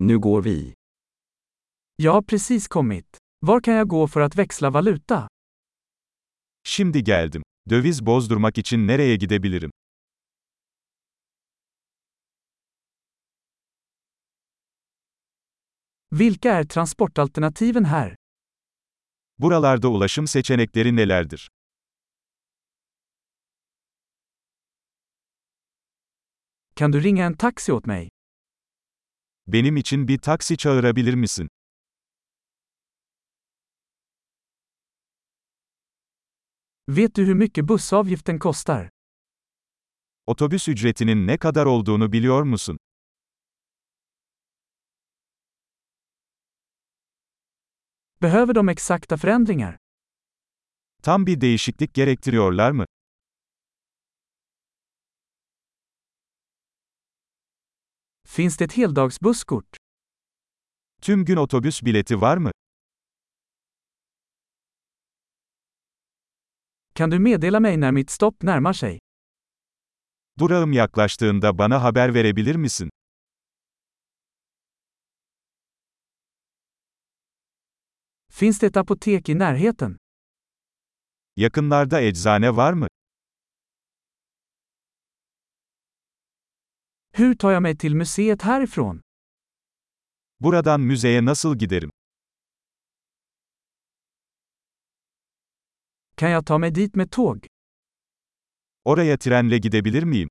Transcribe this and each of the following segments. Nu går vi. Jag har precis kommit. Var kan jag gå för att växla valuta? Şimdi geldim. Döviz bozdurmak için nereye gidebilirim? Vilka är transportalternativen här? Buralarda ulaşım seçenekleri nelerdir? Kan du ringa en taxi åt mig? Benim için bir taksi çağırabilir misin? Vet du hur mycket bussavgiften kostar? Otobüs ücretinin ne kadar olduğunu biliyor musun? Behöver de exakta förändringar? Tam bir değişiklik gerektiriyorlar mı? Finns det ett heldagsbusskort? Tüm gün otobüs bileti var mı? Kan du meddela mig när mitt stopp närmar sig? Durağım yaklaştığında bana haber verebilir misin? Finns det ett apotek i närheten? Yakınlarda eczane var mı? Hur tar jag mig till museet härifrån? Buradan müzeye nasıl giderim? Kan jag ta mig dit med tåg? Oraya trenle gidebilir miyim?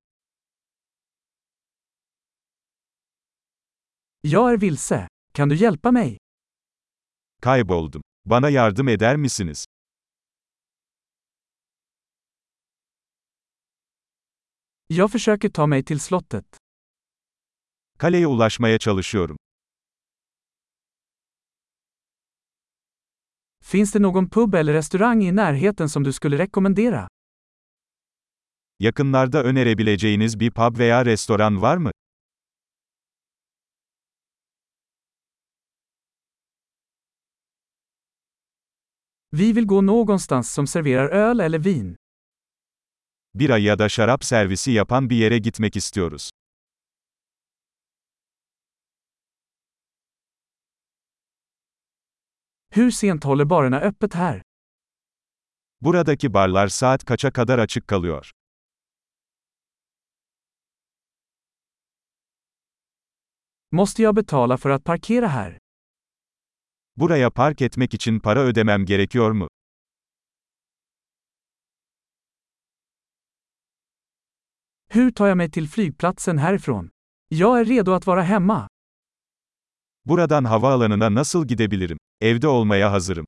Jag är vilse. Kan du hjälpa mig? Kayboldum. Bana yardım eder misiniz? Jag försöker ta mig till slottet. Kaleye ulaşmaya çalışıyorum. Finns det någon pub eller restaurang i närheten som du skulle rekommendera? Yakınlarda önerebileceğiniz bir pub veya restoran var mı? Vi vill gå någonstans som serverar öl eller vin. Bira ya da şarap servisi yapan bir yere gitmek istiyoruz. Hur sent håller barerna öppet här? Buradaki barlar saat kaça kadar açık kalıyor? Måste jag betala för att parkera här? Buraya park etmek için para ödemem gerekiyor mu? Hur tar jag mig till flygplatsen härifrån? Jag är redo att vara hemma. Buradan havaalanına nasıl gidebilirim? Evde olmaya hazırım.